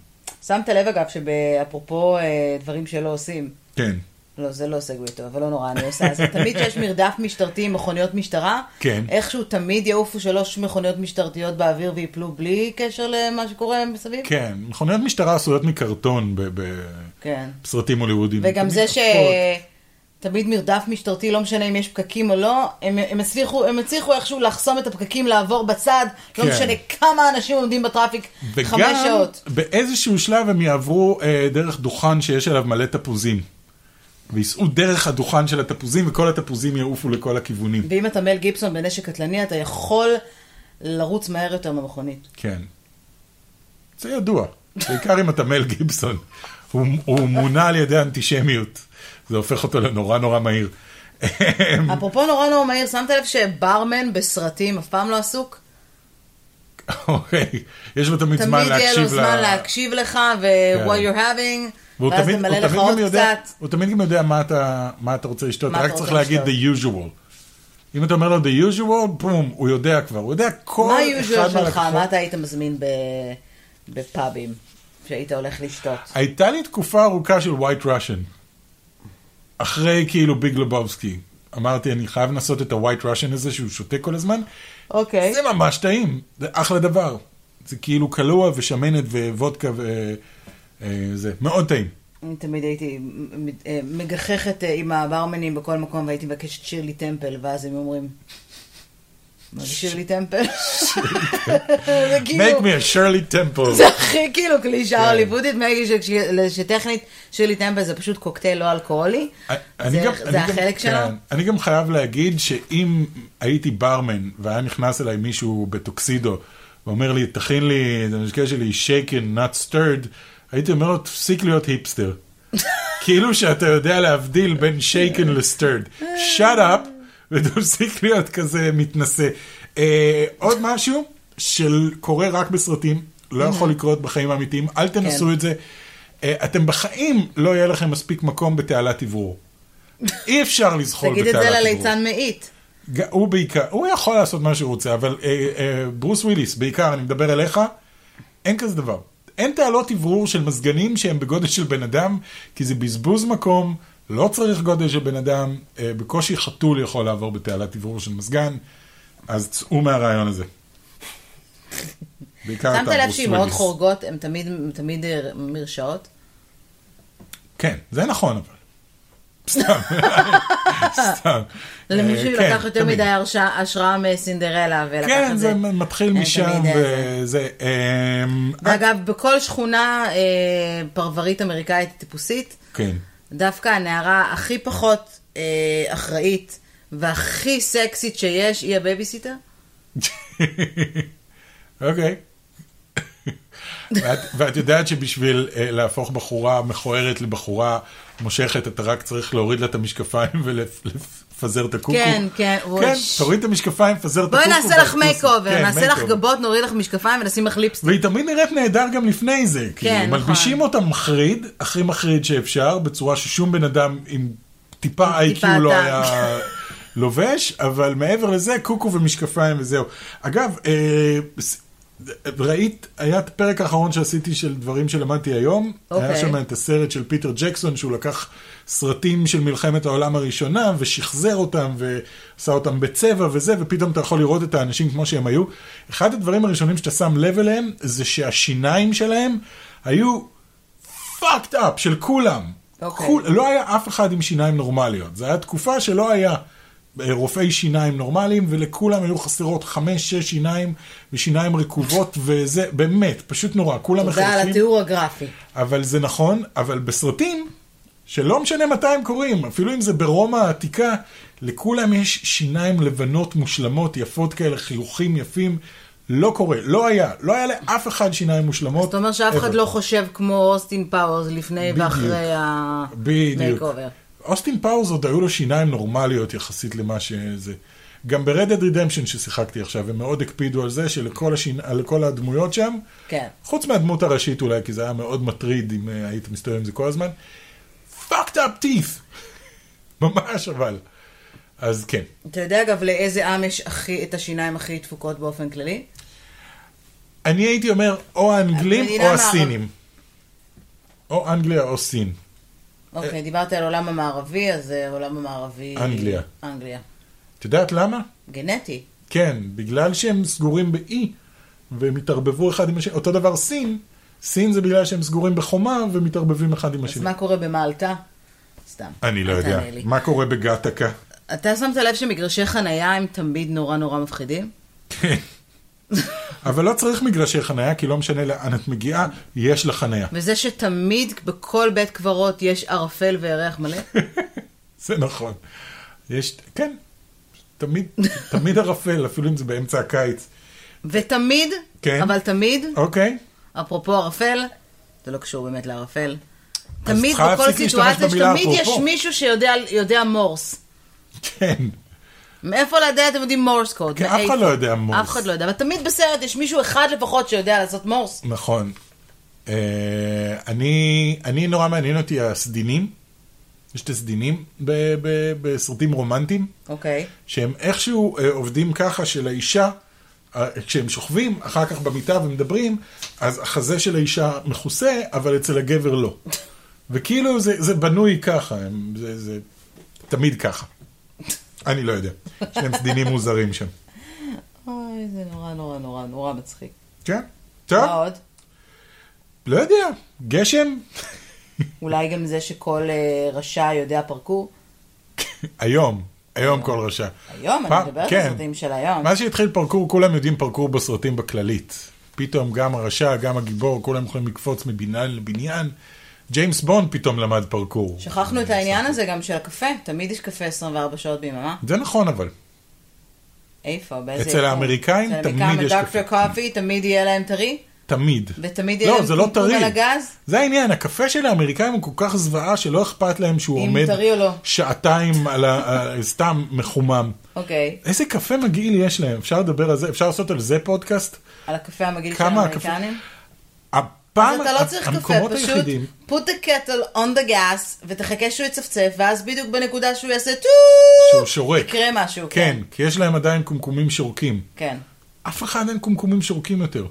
A: שמת לב אגב שאפרופו אה, דברים שלא עושים.
B: כן,
A: לא, זה לא סגווי טוב, אבל לא נורא, אני עושה. אז תמיד כשיש מרדף משטרתי עם מכוניות משטרה,
B: כן.
A: איכשהו תמיד יעופו שלוש מכוניות משטרתיות באוויר ויפלו בלי קשר למה שקורה מסביב.
B: כן, מכוניות משטרה עשויות מקרטון ב- ב-
A: כן.
B: בסרטים הוליוודיים.
A: וגם
B: תמיד
A: זה
B: עפות.
A: שתמיד מרדף משטרתי, לא משנה אם יש פקקים או לא, הם, הם, הצליחו, הם הצליחו איכשהו לחסום את הפקקים, לעבור בצד, לא
B: כן.
A: משנה כמה אנשים עומדים בטראפיק, חמש
B: וגם
A: שעות.
B: באיזשהו שלב הם יעברו אה, דרך דוכן שיש עליו מלא תפוזים. וייסעו דרך הדוכן של התפוזים וכל התפוזים יעופו לכל הכיוונים.
A: ואם אתה מל גיבסון בנשק קטלני, אתה יכול לרוץ מהר יותר מהמכונית.
B: כן. זה ידוע. בעיקר אם אתה מל גיבסון. הוא, הוא מונע על ידי אנטישמיות. זה הופך אותו לנורא נורא מהיר.
A: אפרופו נורא נורא מהיר, שמת לב שברמן בסרטים אף פעם לא עסוק?
B: אוקיי. יש לו תמיד
A: תמיד
B: זמן
A: יהיה לו
B: להקשיב
A: זמן
B: ל...
A: להקשיב לך, ו-
B: כן.
A: what you're having,
B: והוא
A: ואז
B: תמיד,
A: למלא
B: הוא
A: לך
B: תמיד גם
A: עוד
B: יודע,
A: קצת.
B: הוא תמיד גם יודע מה אתה, מה אתה רוצה לשתות,
A: מה אתה
B: רק
A: רוצה
B: צריך להגיד
A: לשתות.
B: the usual. אם אתה אומר לו the usual, בום, הוא יודע כבר, הוא יודע כל
A: מה
B: אחד
A: היוז'ואל שלך?
B: מהלקוחות.
A: מה אתה היית מזמין ב- בפאבים שהיית הולך לשתות?
B: הייתה לי תקופה ארוכה של white Russian. אחרי כאילו ביג לבובסקי. אמרתי, אני חייב לנסות את ה-white Russian הזה שהוא שותה כל הזמן.
A: אוקיי.
B: זה ממש טעים, זה אחלה דבר. זה כאילו קלוע ושמנת ווודקה וזה, אה, מאוד טעים.
A: אני תמיד הייתי מ- מ- אה, מגחכת אה, עם הברמנים בכל מקום והייתי מבקשת שירלי טמפל, ואז הם אומרים... מה זה שירלי טמפל? זה
B: make
A: כאילו...
B: me a Shirley Temple.
A: זה הכי כאילו קלישאה
B: כן.
A: הוליוודית, מהגיל שכש- שטכנית שירלי טמפל זה פשוט קוקטייל לא אלכוהולי.
B: אה, אני
A: זה-
B: גם- אני
A: זה
B: גם-
A: החלק שלו.
B: כן. אני גם חייב להגיד שאם הייתי ברמן והיה נכנס אליי מישהו בטוקסידו ואומר לי, תכין לי את המשקה שלי שייקן, not stirred, הייתי אומר לו, תפסיק להיות היפסטר. כאילו שאתה יודע להבדיל בין שייקן לסטרד. shut up, ותפסיק להיות כזה מתנשא. אה, עוד משהו שקורה רק בסרטים, לא
A: Mm-hmm.
B: יכול לקרות בחיים האמיתיים, אל
A: כן.
B: תנסו את זה. אה, אתם בחיים, לא יהיה לכם מספיק מקום בתעלת אוורור. אי אפשר לזחול
A: תגיד
B: בתעלת
A: את
B: אוורור.
A: זה לליצן מאית.
B: ג- הוא בעיקר, הוא יכול לעשות מה שהוא רוצה, אבל אה, אה, ברוס וויליס, בעיקר, אני מדבר אליך, אין כזה דבר. אין תעלות אוורור של מזגנים שהם בגודל של בן אדם, כי זה בזבוז מקום, לא צריך גודל של בן אדם, אה, בקושי חתול יכול לעבור בתעלת אוורור של מזגן, אז צאו מהרעיון הזה. בעיקר
A: שמת
B: אתה,
A: לב
B: ברוס
A: שהיא מאוד
B: וויליס.
A: חורגות, הן תמיד- הן תמיד אה, מרשעות.
B: כן, זה נכון אבל. סתם, סתם.
A: למישהו
B: אה, כן,
A: לקח יותר
B: תמיד.
A: מדי הרשע- השראה מסינדרלה ולקח
B: כן,
A: את
B: זה מתחיל
A: אה,
B: משם,
A: תמיד, אה,
B: וזה... אמ,
A: ואגב, בכל שכונה אה, פרברית אמריקאית טיפוסית,
B: כן.
A: דווקא הנערה הכי פחות אה, אחראית והכי סקסית שיש היא הבייביסיטר.
B: אוקיי. ואת, ואת יודעת שבשביל uh, להפוך בחורה מכוערת לבחורה מושכת, אתה רק צריך להוריד לה את המשקפיים ולפזר את הקוקו.
A: כן, כן,
B: כן,
A: וואי.
B: תוריד את המשקפיים, פזר את
A: בואי
B: הקוקו.
A: נעשה לך
B: ואת-
A: מייק-אובר,
B: כן,
A: נעשה לך
B: מייק-אובר.
A: גבות, נוריד לך משקפיים ונשים לך ליפסטיק.
B: והיא תמיד נראית נהדר גם לפני זה. כן, כאילו,
A: נכון.
B: מלבישים אותה מחריד, הכי מחריד שאפשר, בצורה ששום בן אדם עם טיפה איי-קיו
A: טיפה
B: לא
A: אדם.
B: היה לובש, אבל מעבר לזה, קוקו ומשקפיים וזהו. אגב, אה, ס- ראית, היה את הפרק האחרון שעשיתי של דברים שלמדתי היום, היה
A: אוקיי.
B: שם את הסרט של פיטר ג'קסון, שהוא לקח סרטים של מלחמת העולם הראשונה, ושחזר אותם, ועשה אותם בצבע וזה, ופתאום אתה יכול לראות את האנשים כמו שהם היו. אחד הדברים הראשונים שאתה שם לב אליהם, זה שהשיניים שלהם היו fucked up של כולם.
A: אוקיי.
B: כול- לא היה אף אחד עם שיניים נורמליות. זו הייתה תקופה שלא היה אה, רופאי שיניים נורמליים, ולכולם היו חסרות חמש, שש שיניים, ושיניים רקובות, וזה, באמת, פשוט נורא. כולם
A: תודה על התיאור הגרפי.
B: אבל זה נכון, אבל בסרטים, שלא משנה מתי הם קוראים, אפילו אם זה ברומא העתיקה, לכולם יש שיניים לבנות מושלמות, יפות כאלה, חיוכים יפים. לא קורה, לא היה, לא היה לאף אחד שיניים מושלמות.
A: זאת אומרת שאף אחד
B: ever.
A: לא חושב כמו אוסטין פאוורס לפני
B: בדיוק.
A: ואחרי ה...
B: בדיוק.
A: makeover.
B: אוסטין פאוורס עוד היו לו שיניים נורמליות יחסית למה שזה. גם ברדד רידמפשן ששיחקתי עכשיו, הם מאוד הקפידו על זה שלכל השינ... על כל הדמויות שם,
A: כן.
B: חוץ מהדמות הראשית אולי, כי זה היה מאוד מטריד אם אה, היית מסתובב עם זה כל הזמן, fucked up teeth! ממש אבל. אז כן.
A: אתה יודע אגב לאיזה עם יש הכי, את השיניים הכי דפוקות באופן כללי?
B: אני הייתי אומר או האנגלים
A: המדינה
B: או
A: המערב-
B: הסינים. או אנגליה או סין. אה.
A: אוקיי, דיברת על עולם המערבי, אז אה, עולם המערבי...
B: אנגליה.
A: אנגליה.
B: את יודעת למה?
A: גנטי.
B: כן, בגלל שהם סגורים באי, והם התערבבו אחד עם השני, אותו דבר סין, סין זה בגלל שהם סגורים בחומה ומתערבבים אחד עם
A: אז
B: השני.
A: מה קורה במלטה? סתם.
B: אני לא
A: אל
B: יודע,
A: תענה לי.
B: מה קורה בגתקה?
A: אתה שמת לב שמגרשי חנייה הם תמיד נורא נורא מפחידים?
B: כן. אבל לא צריך מגרשי חנייה, כי לא משנה לאן את מגיעה, יש לך חנייה.
A: וזה שתמיד בכל בית קברות יש ערפל וירח מלא?
B: זה נכון. יש, כן, תמיד, תמיד ערפל, אפילו אם זה באמצע הקיץ.
A: ותמיד,
B: כן.
A: אבל תמיד,
B: אוקיי?
A: אפרופו ערפל, זה לא קשור באמת לערפל.
B: אז
A: תמיד,
B: צריכה
A: בכל
B: להפסיק להשתמש
A: סיטואציה,
B: במילה
A: שתמיד יש
B: אפרופו.
A: מישהו שיודע יודע מורס.
B: כן.
A: מאיפה לדעת אתם יודעים מורס קוד?
B: כן, אף אחד
A: מאיפה?
B: לא יודע מורס.
A: אף אחד לא יודע, אבל תמיד בסרט יש מישהו אחד לפחות שיודע לעשות מורס.
B: נכון. אה, אני, אני נורא מעניין אותי הסדינים. יש את הסדינים ב- ב- בסרטים רומנטיים,
A: אוקיי.
B: שהם איכשהו אה, עובדים ככה שלאישה, אה, כשהם שוכבים, אחר כך במיטה ומדברים, אז החזה של האישה מכוסה, אבל אצל הגבר לא. וכאילו זה, זה בנוי ככה, הם, זה, זה תמיד ככה. אני לא יודע. יש להם סדינים מוזרים שם.
A: אוי, זה נורא נורא נורא נורא מצחיק.
B: כן? טוב,
A: מה עוד?
B: לא יודע. גשם?
A: אולי גם זה שכל אה, רשע יודע פרקור?
B: היום, היום כל רשע.
A: היום,
B: פעם-
A: אני מדברת על
B: כן.
A: הסרטים של היום.
B: מאז שהתחיל פרקור, כולם יודעים פרקור בסרטים בכללית. פתאום גם הרשע, גם הגיבור, כולם יכולים לקפוץ מבניין לבניין. ג'יימס בונד פתאום למד פרקור.
A: שכחנו את העניין הזה גם של הקפה, תמיד יש קפה 24 שעות ביממה.
B: זה נכון אבל.
A: איפה? באיזה...
B: אצל
A: איפה?
B: האמריקאים
A: אצל
B: תמיד
A: האמריקאים,
B: יש
A: הדוקטור
B: קפה.
A: קופי, תמיד יהיה להם טרי,
B: תמיד.
A: ותמיד יהיה
B: לא,
A: להם
B: זה לא
A: פונפון
B: טרי.
A: על הגז.
B: זה העניין, הקפה של האמריקאים הוא כל כך זוועה שלא אכפת להם שהוא
A: אם
B: עומד
A: טרי או לא.
B: שעתיים על ה... על- סתם מחומם.
A: אוקיי.
B: איזה קפה מגעיל יש להם, אפשר לדבר על זה, אפשר לעשות על זה פודקאסט?
A: על הקפה המגעיל של
B: כמה
A: האמריקנים.
B: הפעם,
A: אז אתה לא צריך קפה,
B: המקומות
A: פשוט
B: היחידים,
A: put the kettle on the gas, ותחכה שהוא יצפצף, ואז בדיוק בנקודה שהוא יעשה
B: שהוא
A: טו...
B: שורק.
A: יקרה משהו.
B: כן, כי יש להם עדיין קומקומים שורקים.
A: כן.
B: אף אחד אין קומקומים שורקים יותר.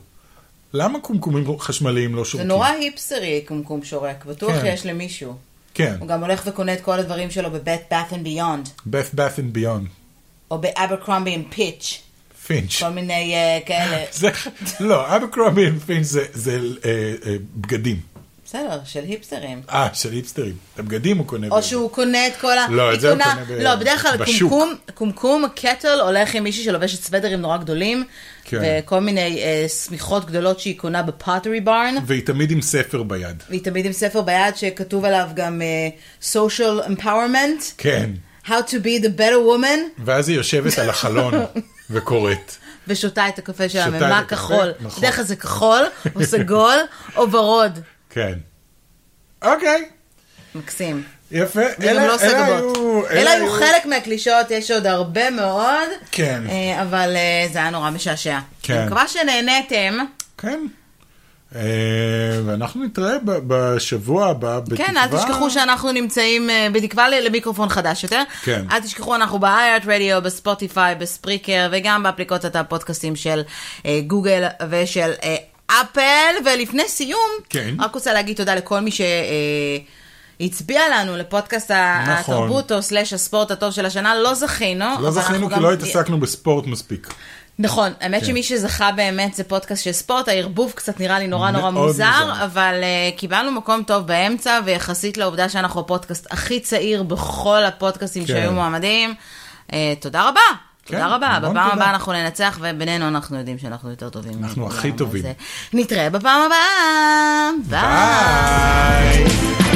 B: למה קומקומים חשמליים לא
A: זה
B: שורקים?
A: נורא היפסטרי קומקום שורק, בטוח
B: כן.
A: יש למישהו.
B: כן,
A: הוא גם הולך וקונה את כל הדברים שלו בבית באף אנד ביונד,
B: Beth Bath and Beyond,
A: או באברקרומבי אנד פיץ',
B: פינץ'.
A: כל מיני אה, כאלה.
B: זה, לא, אבקרומי and פינץ' זה, זה אה, אה, בגדים.
A: בסדר, של היפסטרים.
B: אה, של היפסטרים. את הבגדים הוא קונה.
A: או
B: בזה.
A: שהוא קונה את כל ה...
B: לא, את זה
A: היא
B: הוא קונה ב-
A: לא, בדרך כלל
B: בשוק.
A: קומקום, קומקום, קטל הולך עם מישהי שלובשת סוודרים נורא גדולים,
B: כן.
A: וכל מיני אה, שמיכות גדולות שהיא קונה בפוטרי ברן,
B: והיא תמיד עם ספר ביד.
A: והיא תמיד עם ספר ביד שכתוב עליו גם אה, social empowerment,
B: כן.
A: how to be the better woman,
B: ואז היא יושבת על החלון וקוראת.
A: ושותה את הקפה שלה,
B: שותה את
A: ממה
B: הקפה,
A: כחול.
B: נכון.
A: בדרך כלל זה כחול, או סגול, או ורוד.
B: כן. אוקיי,
A: מקסים.
B: יפה.
A: וגם לא סגבות. אלה היו
B: היו-
A: חלק מהקלישאות, יש עוד הרבה מאוד.
B: כן.
A: אה, אבל אה, זה היה נורא משעשע.
B: כן.
A: אני מקווה שנהניתם.
B: כן. אה, ואנחנו נתראה ב- בשבוע הבא, בתקווה.
A: כן, אל תשכחו שאנחנו נמצאים אה, בתקווה ל- למיקרופון חדש יותר.
B: כן.
A: אל תשכחו, אנחנו ב-iart רדיו, בספוטיפיי, בספריקר, וגם באפליקציות הפודקאסטים של אה, גוגל ושל אה, אפל. ולפני סיום,
B: כן.
A: רק רוצה להגיד תודה לכל מי ש... אה, הצביע לנו לפודקאסט ה-
B: נכון.
A: התרבות או סלאש הספורט הטוב של השנה, לא זכינו.
B: לא
A: אבל
B: זכינו
A: אנחנו
B: כי
A: גם-
B: לא התעסקנו בספורט מספיק.
A: נכון, האמת
B: כן.
A: שמי שזכה באמת זה פודקאסט של ספורט, הערבוב קצת נראה לי נורא נורא
B: מאוד
A: מוזר,
B: מוזר.
A: אבל uh, קיבלנו מקום טוב באמצע, ויחסית לעובדה שאנחנו הפודקאסט הכי צעיר בכל הפודקאסטים
B: כן.
A: שהיו מועמדים, uh, תודה רבה.
B: כן,
A: תודה רבה,
B: המון
A: בפעם
B: תודה.
A: הבאה אנחנו ננצח, ובינינו אנחנו יודעים שאנחנו יותר טובים.
B: אנחנו הכי
A: מכולם, אז,
B: טובים.
A: אה, נתראה בפעם הבאה. ביי.
B: ביי.